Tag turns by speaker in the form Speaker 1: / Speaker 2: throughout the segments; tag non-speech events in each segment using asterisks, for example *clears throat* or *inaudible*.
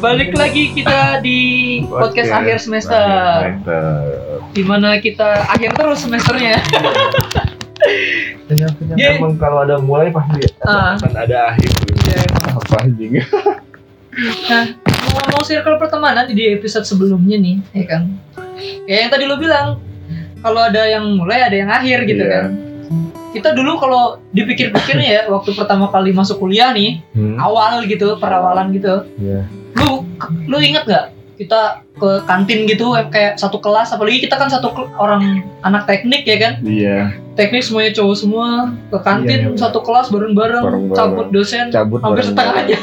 Speaker 1: balik lagi kita di podcast, akhir semester
Speaker 2: ya.
Speaker 1: dimana kita akhir terus semesternya
Speaker 2: Penyakitnya
Speaker 1: Ye.
Speaker 2: emang kalau ada mulai pasti
Speaker 1: Ah.
Speaker 2: akan Kan ada akhir
Speaker 1: Ya.
Speaker 2: apa anjing
Speaker 1: nah ngomong circle pertemanan di episode sebelumnya nih ya kan kayak yang tadi lo bilang kalau ada yang mulai ada yang akhir gitu
Speaker 2: Iya.
Speaker 1: kan kita dulu kalau dipikir-pikirnya ya waktu pertama kali masuk kuliah nih
Speaker 2: Hmm,
Speaker 1: awal gitu perawalan gitu
Speaker 2: iya.
Speaker 1: lu lu inget nggak kita ke kantin gitu kayak satu kelas apalagi kita kan satu kel- orang anak teknik ya kan
Speaker 2: Iya,
Speaker 1: teknik semuanya cowok semua ke kantin
Speaker 2: Iya, iya.
Speaker 1: satu kelas bareng-bareng
Speaker 2: Bareng-bareng.
Speaker 1: cabut dosen
Speaker 2: cabut
Speaker 1: hampir
Speaker 2: bareng-bareng.
Speaker 1: setengahnya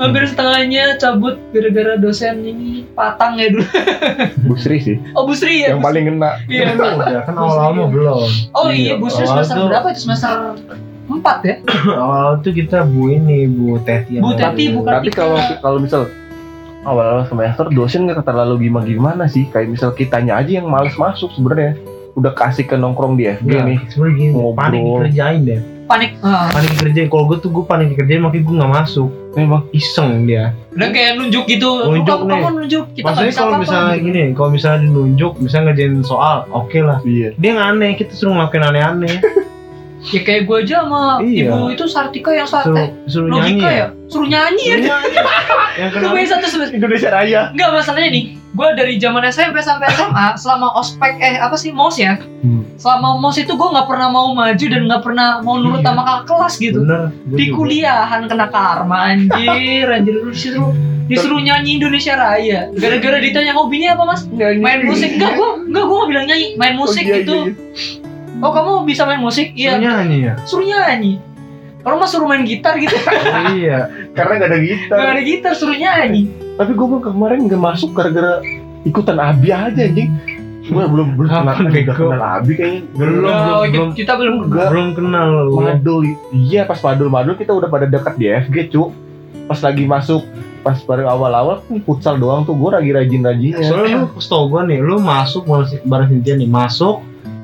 Speaker 1: hampir setengahnya cabut gara-gara dosen ini patang ya dulu *laughs*
Speaker 2: Bu Sri sih,
Speaker 1: oh Bu Sri ya Bu
Speaker 2: yang
Speaker 1: Sri.
Speaker 2: paling kena.
Speaker 1: Iya.
Speaker 2: *laughs*
Speaker 3: udah kan awal-awal mah belum
Speaker 1: oh iya
Speaker 2: Iya,
Speaker 1: Bu Sri
Speaker 3: awal
Speaker 1: semester
Speaker 3: tuh-
Speaker 1: berapa itu semester empat ya
Speaker 3: awal tuh kita bu ini bu Teti yang
Speaker 1: Bu
Speaker 3: baru.
Speaker 1: Teti, bukan-
Speaker 2: Tapi kalau kalau misal awal semester dosen nggak terlalu gimana gimana sih, kayak misal kitanya aja yang males masuk sebenarnya. Udah kasih ke nongkrong di FB
Speaker 3: Nggak,
Speaker 2: nih.
Speaker 3: sebenarnya gini
Speaker 2: Ngobrol.
Speaker 3: panik dikerjain deh
Speaker 1: panik ah.
Speaker 3: panik dikerjain kalau gue tuh gue panik dikerjain makanya gue nggak masuk
Speaker 2: Memang
Speaker 3: iseng dia
Speaker 1: dan kayak nunjuk gitu Lu,
Speaker 3: Nunjuk
Speaker 1: kamu,
Speaker 3: nih.
Speaker 1: kamu nunjuk kita nggak
Speaker 3: maksudnya
Speaker 1: bisa
Speaker 3: kalau
Speaker 1: apa-apa
Speaker 3: misalnya gini kalau misalnya dinunjuk misalnya ngerjain soal oke lah
Speaker 2: iya.
Speaker 3: dia yang aneh kita suruh ngelakuin aneh-aneh
Speaker 1: ya kayak gue aja sama
Speaker 3: Iya.
Speaker 1: ibu itu Sartika yang saat
Speaker 3: suruh
Speaker 1: eh,
Speaker 3: suruh nyanyi
Speaker 1: logika ya
Speaker 3: ya
Speaker 1: suruh nyanyi ya
Speaker 3: Suruh nyanyi. yang
Speaker 1: Itu
Speaker 3: kenapa
Speaker 1: gue satu semester
Speaker 2: Indonesia Raya.
Speaker 1: Enggak masalahnya nih, gue dari zaman SMP sampai SMA selama ospek eh apa sih mos ya,
Speaker 2: Hmm.
Speaker 1: selama mos itu gue nggak pernah mau maju dan nggak pernah mau nurut
Speaker 3: Iya.
Speaker 1: sama kakak kelas gitu.
Speaker 3: bener gua
Speaker 1: Di
Speaker 3: juga.
Speaker 1: kuliahan kena karma anjir, anjir lu disuruh disuruh nyanyi Indonesia Raya. Gara-gara ditanya hobinya apa mas? Main musik? Enggak gue enggak gue nggak bilang nyanyi, main musik
Speaker 2: Oh, iya,
Speaker 1: gitu.
Speaker 2: iya,
Speaker 1: Oh kamu bisa main musik?
Speaker 3: suruh
Speaker 1: Iya.
Speaker 3: nyanyi ya
Speaker 1: Suruh nyanyi. Kalau mas suruh main gitar gitu,
Speaker 3: Oh, iya
Speaker 2: iya. Karena nggak ada gitar.
Speaker 1: nggak ada gitar suruh nyanyi.
Speaker 2: Tapi gue kemarin nggak masuk gara-gara ikutan Abi aja anjing. Gue belum belum
Speaker 3: Kapan,
Speaker 2: kenal, nggak
Speaker 3: Bego?
Speaker 2: kenal Abi kayaknya.
Speaker 3: Belum,
Speaker 1: Oh,
Speaker 3: belum, belum.
Speaker 1: kita belum
Speaker 2: Enggak.
Speaker 3: belum kenal lu
Speaker 2: Madul. Iya pas Madul Madul kita udah pada dekat di FG cu. Pas lagi masuk pas baru awal-awal kan futsal doang tuh gue lagi
Speaker 1: Iya.
Speaker 2: rajin-rajinnya.
Speaker 3: Soalnya lu setau gue nih, lu masuk bareng bareng Cynthia nih, masuk,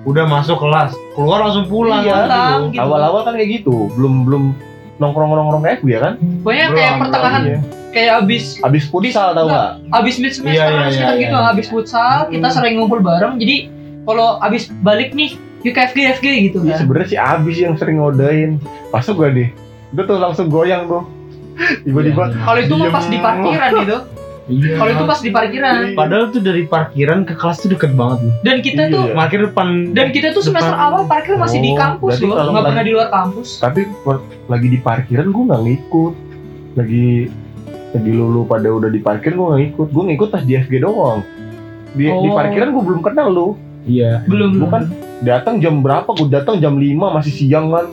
Speaker 3: udah masuk kelas, keluar langsung pulang.
Speaker 2: Iya,
Speaker 1: pulang, gitu.
Speaker 2: Awal-awal kan kayak gitu, belum belum nongkrong-nongkrong ke FG ya kan?
Speaker 1: Pokoknya kayak
Speaker 3: Belum,
Speaker 1: pertengahan
Speaker 2: Iya.
Speaker 1: kayak abis
Speaker 2: Abis futsal tau
Speaker 1: Enggak.
Speaker 2: gak?
Speaker 1: abis mid semester
Speaker 3: Iya, iya,
Speaker 1: harus
Speaker 3: iya,
Speaker 1: kita
Speaker 3: iya,
Speaker 1: gitu
Speaker 3: iya.
Speaker 1: abis futsal kita
Speaker 2: Hmm.
Speaker 1: sering ngumpul bareng jadi kalau abis balik nih yuk ke FG FG gitu
Speaker 2: Iya
Speaker 1: kan
Speaker 2: sebenarnya si Abis yang sering ngodain. Masuk gak deh? Udah tuh langsung goyang tuh. *laughs* Tiba-tiba
Speaker 3: Iya.
Speaker 1: kalau itu mah pas di
Speaker 2: Diem.
Speaker 1: parkiran gitu
Speaker 3: Iya.
Speaker 1: kalau itu pas di parkiran
Speaker 3: Padahal tuh dari parkiran ke kelas tuh deket banget nih.
Speaker 1: dan kita
Speaker 2: Iya.
Speaker 1: tuh
Speaker 3: Parkir depan.
Speaker 1: dan kita tuh semester
Speaker 3: Depan.
Speaker 1: awal parkir masih di
Speaker 2: Oh,
Speaker 1: kampus
Speaker 2: berarti
Speaker 1: loh
Speaker 2: kalau
Speaker 1: nggak
Speaker 2: lagi-
Speaker 1: pernah di luar kampus
Speaker 2: tapi per- lagi di parkiran gue nggak ngikut lagi lagi lulu pada udah di parkir gue nggak ngikut gue ngikut pas di FG doang di, di
Speaker 1: Oh.
Speaker 2: parkiran gue belum kenal lu
Speaker 3: Iya.
Speaker 1: belum
Speaker 2: lu kan datang jam berapa gue datang jam 5 masih siang kan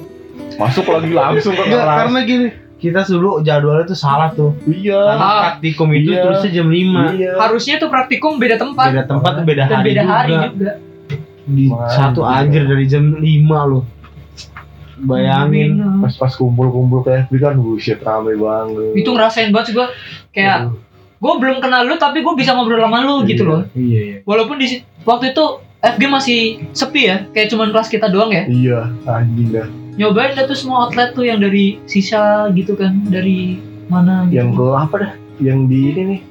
Speaker 2: masuk lagi langsung ke
Speaker 3: Nggak,
Speaker 2: kelas
Speaker 3: karena gini, kita dulu jadwalnya tuh salah tuh.
Speaker 2: iya
Speaker 3: Karena
Speaker 1: Ah.
Speaker 3: praktikum itu
Speaker 2: Iya.
Speaker 3: tulisnya jam 5.
Speaker 2: iya
Speaker 1: harusnya tuh praktikum beda tempat
Speaker 3: Beda tempat tuh beda
Speaker 1: dan
Speaker 3: hari
Speaker 1: beda
Speaker 3: juga.
Speaker 1: hari juga
Speaker 3: Di satu
Speaker 2: Wah,
Speaker 3: anjir dari jam 5 loh. Bayangin.
Speaker 1: Bener.
Speaker 2: pas pas kumpul kumpul ke FB kan buset rame banget
Speaker 1: Iya. itu ngerasain banget sih gue kayak
Speaker 2: Aduh,
Speaker 1: gue belum kenal lu tapi gue bisa ngobrol sama lu gitu
Speaker 2: Iya.
Speaker 1: loh
Speaker 3: Iya, iya.
Speaker 1: walaupun di si- waktu itu FG masih sepi ya kayak cuman kelas kita doang ya
Speaker 2: iya anjing dah
Speaker 1: nyobain dah tuh semua outlet tuh yang dari sisa gitu kan dari mana gitu.
Speaker 2: yang ke apa dah yang di ini nih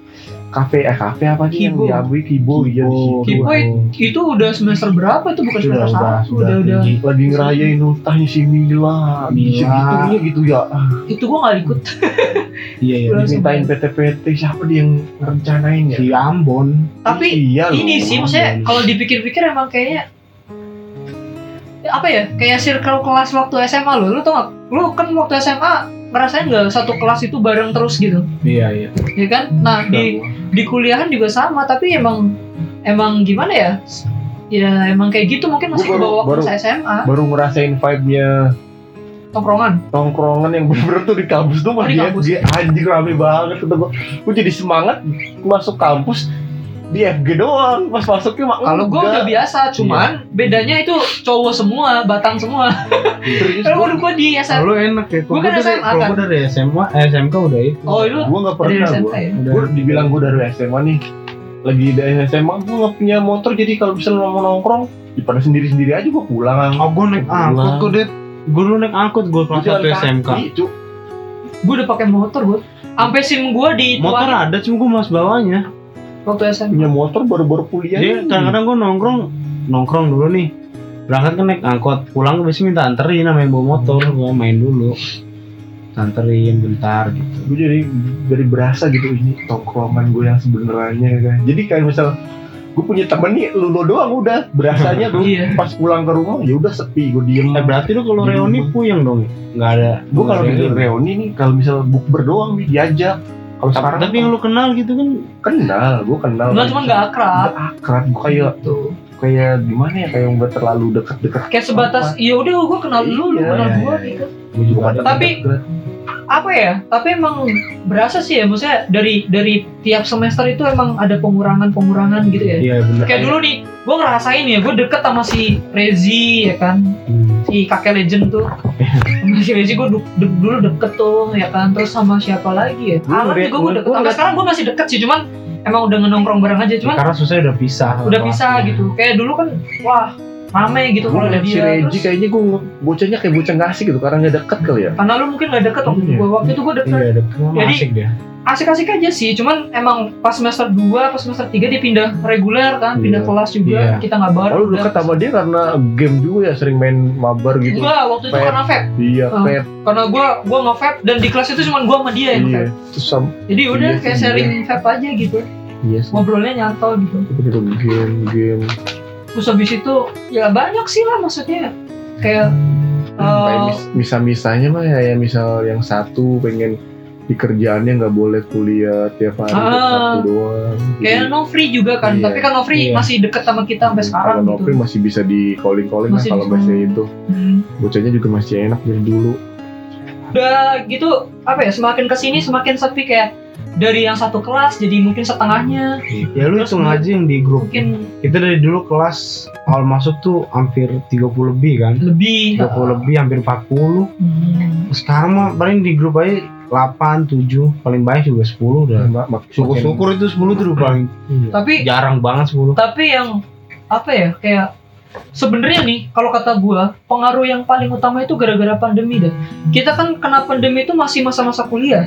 Speaker 2: kafe eh kafe apa sih yang
Speaker 1: Kibo.
Speaker 2: di Abui Kibo iya di situ
Speaker 1: Kibo. itu udah semester berapa itu bukan
Speaker 3: Sudah,
Speaker 1: semester
Speaker 3: udah,
Speaker 1: satu udah
Speaker 3: sudah
Speaker 1: udah,
Speaker 3: tinggi.
Speaker 2: lagi ngerayain ultahnya si Mila
Speaker 3: Mila.
Speaker 2: gitu gitu ya
Speaker 1: itu gua nggak ikut
Speaker 3: Iya, iya.
Speaker 1: Udah.
Speaker 2: dimintain PT-PT siapa dia yang rencanain ya
Speaker 3: Di Ambon.
Speaker 1: tapi
Speaker 2: iya loh.
Speaker 1: ini sih maksudnya kalau dipikir-pikir emang kayaknya Ya, apa ya kayak circle kelas waktu SMA lo lu tau gak lu kan waktu SMA ngerasain nggak satu kelas itu bareng terus gitu
Speaker 3: Iya, iya.
Speaker 1: ya kan nah di
Speaker 2: Iya.
Speaker 1: di kuliahan juga sama tapi emang emang gimana ya ya emang kayak gitu mungkin masih
Speaker 2: Gua baru-
Speaker 1: kebawa
Speaker 2: baru-
Speaker 1: waktu SMA
Speaker 2: baru ngerasain vibe-nya
Speaker 1: tongkrongan
Speaker 2: tongkrongan yang *laughs* bener-bener tuh di kampus tuh
Speaker 1: Oh,
Speaker 2: pas
Speaker 1: di
Speaker 2: dia
Speaker 1: kampus.
Speaker 2: dia anjing rame banget kata gua gua jadi semangat masuk kampus di FG doang pas masuknya
Speaker 3: Oh,
Speaker 2: mak
Speaker 1: kalau gue udah
Speaker 3: Iya.
Speaker 1: biasa cuman bedanya itu cowok semua batang semua kalau
Speaker 2: biasa
Speaker 1: waktu gue di SMA
Speaker 3: Kalau lu enak ya. Kalau
Speaker 1: Gua kan
Speaker 3: gua dari-
Speaker 1: SMA
Speaker 3: Kalau
Speaker 1: kan.
Speaker 3: gua dari SMA, eh, SMK udah itu.
Speaker 1: oh lu
Speaker 2: gua nggak
Speaker 1: dari
Speaker 2: pernah
Speaker 1: SMA
Speaker 2: gua
Speaker 1: ya
Speaker 3: Udah.
Speaker 2: gue dibilang gue dari SMA nih lagi dari SMA gue nggak punya motor jadi kalau bisa mau nongkrong ya pada sendiri sendiri aja gue pulang
Speaker 3: Oh, gua naik angkut
Speaker 2: Pulang.
Speaker 3: kok, Det. Gua dulu naik angkut, gua kelas
Speaker 2: Gua jalan
Speaker 3: satu SMK.
Speaker 2: kaki, cu.
Speaker 1: gue udah pakai motor gue sampai sim gue di
Speaker 3: motor ah? Iya. ada cuma gue malas bawanya
Speaker 1: waktu SMA
Speaker 2: punya motor baru-baru kuliah
Speaker 3: jadi Iya, kadang-kadang gue nongkrong nongkrong dulu nih berangkat kan naik angkot pulang gue biasanya minta anterin sama yang bawa motor gue main dulu anterin bentar gitu
Speaker 2: gue jadi dari berasa gitu ini tongkrongan gue yang sebenarnya kan jadi kayak misal gue punya temen nih lu, lu doang udah berasanya gue
Speaker 1: iya
Speaker 2: pas pulang ke rumah ya udah sepi gue diem
Speaker 3: eh berarti Iya. lu kalau
Speaker 2: Di
Speaker 3: reuni puyeng dong ya? nggak ada
Speaker 2: gue kalau di
Speaker 3: reuni.
Speaker 2: reuni nih kalau misal bukber doang nih diajak kalau
Speaker 3: tapi,
Speaker 2: sekarang
Speaker 3: tapi yang lu kenal gitu kan
Speaker 2: kenal gue kenal
Speaker 1: gue cuma nggak akrab
Speaker 2: Nggak akrab gue
Speaker 3: Iya.
Speaker 2: kayak
Speaker 1: tuh
Speaker 2: kayak gimana ya kayak nggak terlalu deket-deket
Speaker 1: kayak sebatas iya udah gue kenal lu lu
Speaker 2: Iya,
Speaker 1: kenal
Speaker 3: iya,
Speaker 1: gue
Speaker 3: iya.
Speaker 1: gitu
Speaker 2: gue juga
Speaker 3: Tapi-
Speaker 2: deket-deket.
Speaker 1: apa ya tapi emang berasa sih ya maksudnya dari dari tiap semester itu emang ada pengurangan pengurangan gitu ya
Speaker 3: iya bener
Speaker 1: kayak dulu nih gue ngerasain ya gue deket sama si Rezi ya kan
Speaker 3: Hmm.
Speaker 1: si kakek legend tuh sama si Rezi gue du- de- dulu deket tuh ya kan terus sama siapa lagi ya
Speaker 3: Dulu
Speaker 1: Alan
Speaker 3: deh,
Speaker 1: juga
Speaker 3: gua-
Speaker 1: gue deket
Speaker 3: gua
Speaker 1: sampai
Speaker 3: ngeliat-
Speaker 1: sekarang gue masih deket sih cuman emang udah nongkrong bareng aja cuman
Speaker 3: karena susah udah pisah
Speaker 1: udah bisa gitu kayak dulu kan wah rame gitu
Speaker 2: gue
Speaker 1: kalau ada
Speaker 2: liat si
Speaker 1: dia
Speaker 2: Reji
Speaker 1: terus
Speaker 2: kayaknya gue bocahnya kayak bocah ngasih gitu karena nggak deket kali ya
Speaker 1: karena lu mungkin gak deket waktu
Speaker 2: Iya.
Speaker 1: gue waktu itu gue deket
Speaker 3: iya deket sama
Speaker 1: Jadi-
Speaker 3: asik dia
Speaker 1: asik-asik aja sih cuman emang pas semester 2 pas semester 3 dia pindah reguler kan pindah
Speaker 2: Iya.
Speaker 1: kelas juga
Speaker 3: Iya.
Speaker 1: kita nggak bareng
Speaker 2: Lalu deket sama dia karena game juga ya sering main mabar gitu.
Speaker 1: Enggak, waktu itu
Speaker 2: Vape.
Speaker 1: karena vape
Speaker 2: Iya,
Speaker 1: Oh.
Speaker 2: pet.
Speaker 1: karena gue gue nge-vape dan di kelas itu cuma gue sama dia yang
Speaker 2: Iya.
Speaker 1: vape
Speaker 2: Terus sama
Speaker 1: jadi udah
Speaker 2: Iya sih,
Speaker 1: kayak
Speaker 2: iya.
Speaker 1: sharing vape aja gitu
Speaker 2: iya sih.
Speaker 1: ngobrolnya nyantol gitu
Speaker 2: Itu gitu, game game
Speaker 1: terus habis itu ya banyak sih lah maksudnya kayak
Speaker 2: kayak
Speaker 1: eh
Speaker 2: mis- misa-misanya mah ya, ya misal yang satu pengen di kerjaannya nggak boleh kuliah tiap hari
Speaker 1: Ah.
Speaker 2: satu doang.
Speaker 1: kayak Nofri juga kan
Speaker 2: Iya.
Speaker 1: tapi kan Nofri
Speaker 3: Iya.
Speaker 1: masih deket sama kita sampai sekarang
Speaker 2: kalau Nopri
Speaker 1: gitu
Speaker 2: masih bisa di calling calling lah
Speaker 1: Masih
Speaker 2: kalau
Speaker 1: bisa.
Speaker 2: bahasa itu
Speaker 1: Hmm.
Speaker 2: bocahnya juga masih enak dari dulu
Speaker 1: udah gitu apa ya semakin kesini semakin sepi kayak dari yang satu kelas jadi mungkin setengahnya
Speaker 3: ya lu hitung aja yang di grup
Speaker 1: mungkin
Speaker 3: kita dari dulu kelas awal masuk tuh hampir 30 lebih kan
Speaker 1: lebih
Speaker 3: 30 lebih hampir 40
Speaker 1: Hmm.
Speaker 3: sekarang mah paling di grup aja 8, 7 paling banyak juga 10 udah
Speaker 2: Nah, Mak- mak-
Speaker 3: Iya. syukur-syukur itu 10 tuh udah paling
Speaker 2: Iya.
Speaker 1: tapi
Speaker 3: jarang banget 10
Speaker 1: tapi yang apa ya kayak sebenarnya nih kalau kata gua pengaruh yang paling utama itu gara-gara pandemi deh kita kan kena pandemi itu masih masa-masa kuliah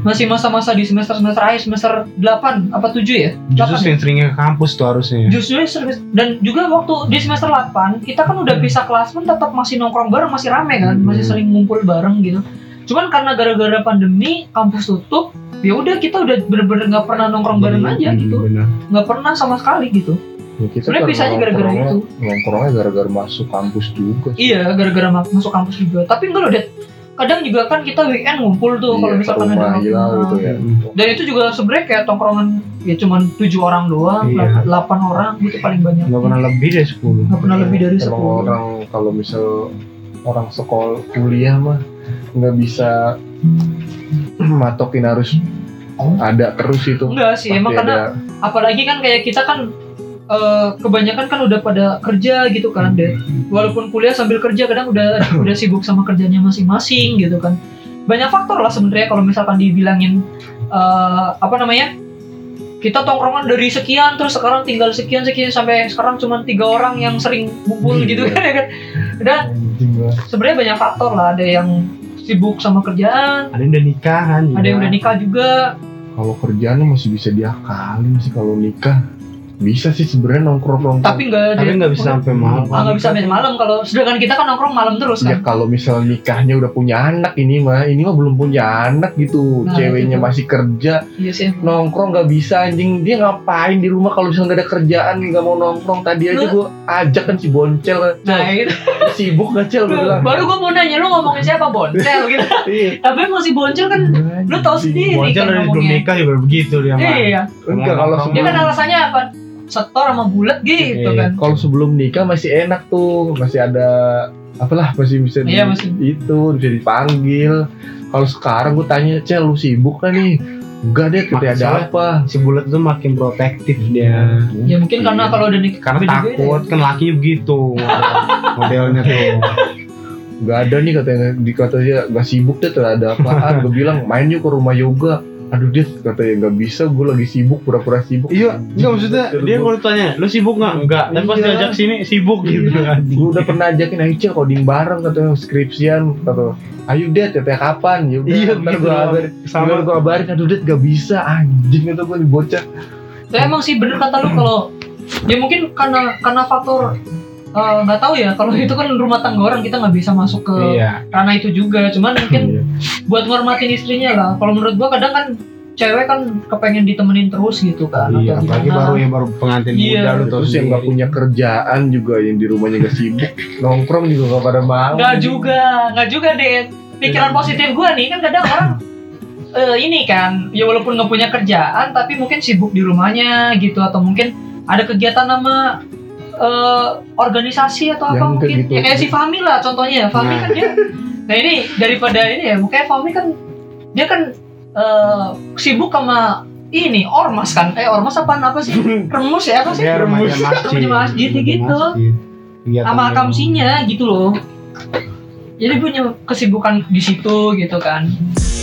Speaker 1: masih masa-masa di semester semester akhir semester 8 apa 7 ya 8 ya?
Speaker 3: justru sering-seringnya ke kampus tuh harusnya
Speaker 1: justru semester- dan juga waktu di semester 8 kita kan udah pisah kelas pun tetap masih nongkrong bareng masih rame kan masih
Speaker 3: Hmm.
Speaker 1: sering ngumpul bareng gitu cuman karena gara-gara pandemi kampus tutup ya udah kita udah bener-bener nggak pernah nongkrong bareng aja
Speaker 3: Hmm,
Speaker 1: gitu
Speaker 3: bener.
Speaker 1: nggak pernah sama sekali gitu
Speaker 2: Ya,
Speaker 1: sebenarnya
Speaker 2: kita karena
Speaker 1: pisahnya gara-gara gitu.
Speaker 2: nongkrongnya-
Speaker 1: itu
Speaker 2: nongkrongnya gara-gara masuk kampus juga sih.
Speaker 1: Iya, gara-gara ma- masuk kampus juga. Tapi enggak loh, Det. Kadang juga kan kita weekend ngumpul tuh kalau
Speaker 2: Iya, ke
Speaker 1: misalkan ada
Speaker 2: rumah gila
Speaker 1: nongkrong.
Speaker 2: gitu ya
Speaker 1: Dan itu juga sebenarnya kayak tongkrongan ya cuman tujuh orang doang,
Speaker 3: Iya.
Speaker 1: delapan orang gitu paling banyak.
Speaker 3: nggak pernah lebih dari 10
Speaker 1: Nggak pernah lebih dari
Speaker 2: Emang
Speaker 1: sepuluh.
Speaker 2: orang kalau misal orang sekolah kuliah mah nggak bisa *clears throat* matokin harus ada terus itu.
Speaker 1: Enggak sih, emang
Speaker 2: Pasti
Speaker 1: karena
Speaker 2: ada.
Speaker 1: apalagi kan kayak kita kan eh, kebanyakan kan udah pada kerja gitu kan, Det. Walaupun kuliah sambil kerja kadang udah
Speaker 3: *laughs*
Speaker 1: udah sibuk sama kerjanya masing-masing gitu kan. Banyak faktor lah sebenarnya kalau misalkan dibilangin eh, apa namanya? Kita tongkrongan dari sekian terus sekarang tinggal sekian sekian sampai sekarang cuma tiga orang yang sering ngumpul
Speaker 3: Iya.
Speaker 1: gitu *laughs* kan ya kan. Dan
Speaker 2: Anjing lah.
Speaker 1: sebenarnya banyak faktor lah, ada yang sibuk sama kerjaan,
Speaker 3: ada yang udah kan, ya. nikahan
Speaker 1: ada yang udah nikah juga.
Speaker 2: Kalau kerjaan masih bisa diakalin sih kalau nikah bisa sih sebenarnya nongkrong nongkrong.
Speaker 1: Tapi nggak
Speaker 3: Iya. tapi
Speaker 1: ada-
Speaker 3: nggak bisa sampai malam
Speaker 1: Ah, nggak bisa main malam kalau sedangkan kita kan nongkrong malam terus
Speaker 2: ya
Speaker 1: kan.
Speaker 3: Iya.
Speaker 2: kalau misal nikahnya udah punya anak ini mah ini mah belum punya anak gitu
Speaker 1: Nah,
Speaker 2: ceweknya
Speaker 1: gitu.
Speaker 2: masih kerja
Speaker 1: Iya sih.
Speaker 3: Nah,
Speaker 2: nongkrong nggak bisa anjing dia ngapain di rumah kalau misalnya nggak ada kerjaan nggak mau nongkrong tadi aja gue ajak kan si boncel kan
Speaker 1: Nah, itu.
Speaker 2: sibuk gak cel gue bilang
Speaker 1: baru gue mau nanya lu ngomongin siapa Boncel
Speaker 3: *laughs*
Speaker 1: gitu.
Speaker 2: Iya.
Speaker 1: Tapi emang si Boncel kan lu tahu sendiri
Speaker 3: Wajar
Speaker 1: kan
Speaker 3: dari sebelum
Speaker 1: ngomongnya.
Speaker 3: nikah ya baru begitu dia mah.
Speaker 1: Iya,
Speaker 2: enggak kalau
Speaker 1: dia kan
Speaker 2: sebelum
Speaker 1: alasannya apa? Setor sama bulat gitu
Speaker 3: Iya.
Speaker 1: kan.
Speaker 2: kalau sebelum nikah masih enak tuh masih ada apalah masih bisa di-
Speaker 1: Iya, masih.
Speaker 2: itu bisa dipanggil kalau sekarang gue tanya cel lu sibuk kan nih enggak deh tapi
Speaker 3: Makin
Speaker 2: ada
Speaker 3: salah.
Speaker 2: apa
Speaker 3: Si bulat tuh makin protektif
Speaker 2: Iya.
Speaker 3: dia.
Speaker 1: Ya mungkin
Speaker 3: Iya.
Speaker 1: karena kalau udah nikah
Speaker 3: Karena
Speaker 1: beda-beda ya.
Speaker 3: takut kan lakinya begitu *laughs* modelnya tuh.
Speaker 2: nggak ada nih katanya dikatanya nggak sibuk deh tuh ada apaan gue bilang main yuk ke rumah yoga aduh dit katanya nggak bisa gue lagi sibuk pura-pura sibuk
Speaker 3: Iya, enggak maksudnya dia kalau ditanya, lu sibuk nggak? Enggak. Tapi pas
Speaker 2: Iya.
Speaker 3: diajak sini sibuk gitu kan.
Speaker 2: gue udah pernah ajakin Aicha coding bareng katanya skripsian kata ayo det katanya kapan ya udah
Speaker 3: Iya,
Speaker 2: ntar
Speaker 3: begitu
Speaker 2: gue
Speaker 3: doang.
Speaker 2: kabarin
Speaker 3: Sama.
Speaker 2: ntar gue kabarin aduh det gak bisa anjing itu gue bocah
Speaker 1: Tapi emang sih bener kata lu kalau ya mungkin karena karena faktor eh, nggak tahu ya kalau itu kan rumah tangga orang kita nggak bisa masuk ke
Speaker 3: Iya.
Speaker 1: ranah itu juga cuman mungkin
Speaker 3: Iya.
Speaker 1: buat ngormatin istrinya lah kalau menurut gua kadang kan cewek kan kepengen ditemenin terus gitu kan
Speaker 3: Iya,
Speaker 1: atau
Speaker 3: apalagi
Speaker 1: gimana.
Speaker 3: baru ya baru pengantin
Speaker 1: Iya.
Speaker 3: muda lu tau
Speaker 2: terus yang
Speaker 3: sendiri.
Speaker 2: gak punya kerjaan juga yang di rumahnya gak sibuk nongkrong juga gak pada mau
Speaker 1: nggak juga nggak juga deh pikiran positif gua nih kan kadang
Speaker 3: *laughs*
Speaker 1: orang eh, ini kan ya walaupun nggak punya kerjaan tapi mungkin sibuk di rumahnya gitu atau mungkin ada kegiatan sama eh, organisasi atau apa
Speaker 2: Yang kayak
Speaker 1: mungkin
Speaker 2: gitu.
Speaker 1: ya kayak si Fahmi lah contohnya Fahmi
Speaker 3: Nah.
Speaker 1: kan dia nah ini daripada ini ya makanya Fahmi kan dia kan eh, sibuk sama ini ormas kan eh ormas apaan apa
Speaker 3: *laughs*
Speaker 1: sih remus ya apa sih
Speaker 3: Iya, remaja
Speaker 1: *laughs*
Speaker 3: masjid.
Speaker 1: Remaja masjid,
Speaker 3: Remaja
Speaker 1: gitu.
Speaker 3: masjid. Iya,
Speaker 1: sama
Speaker 3: temen.
Speaker 1: akamsinya gitu loh jadi punya kesibukan di situ gitu kan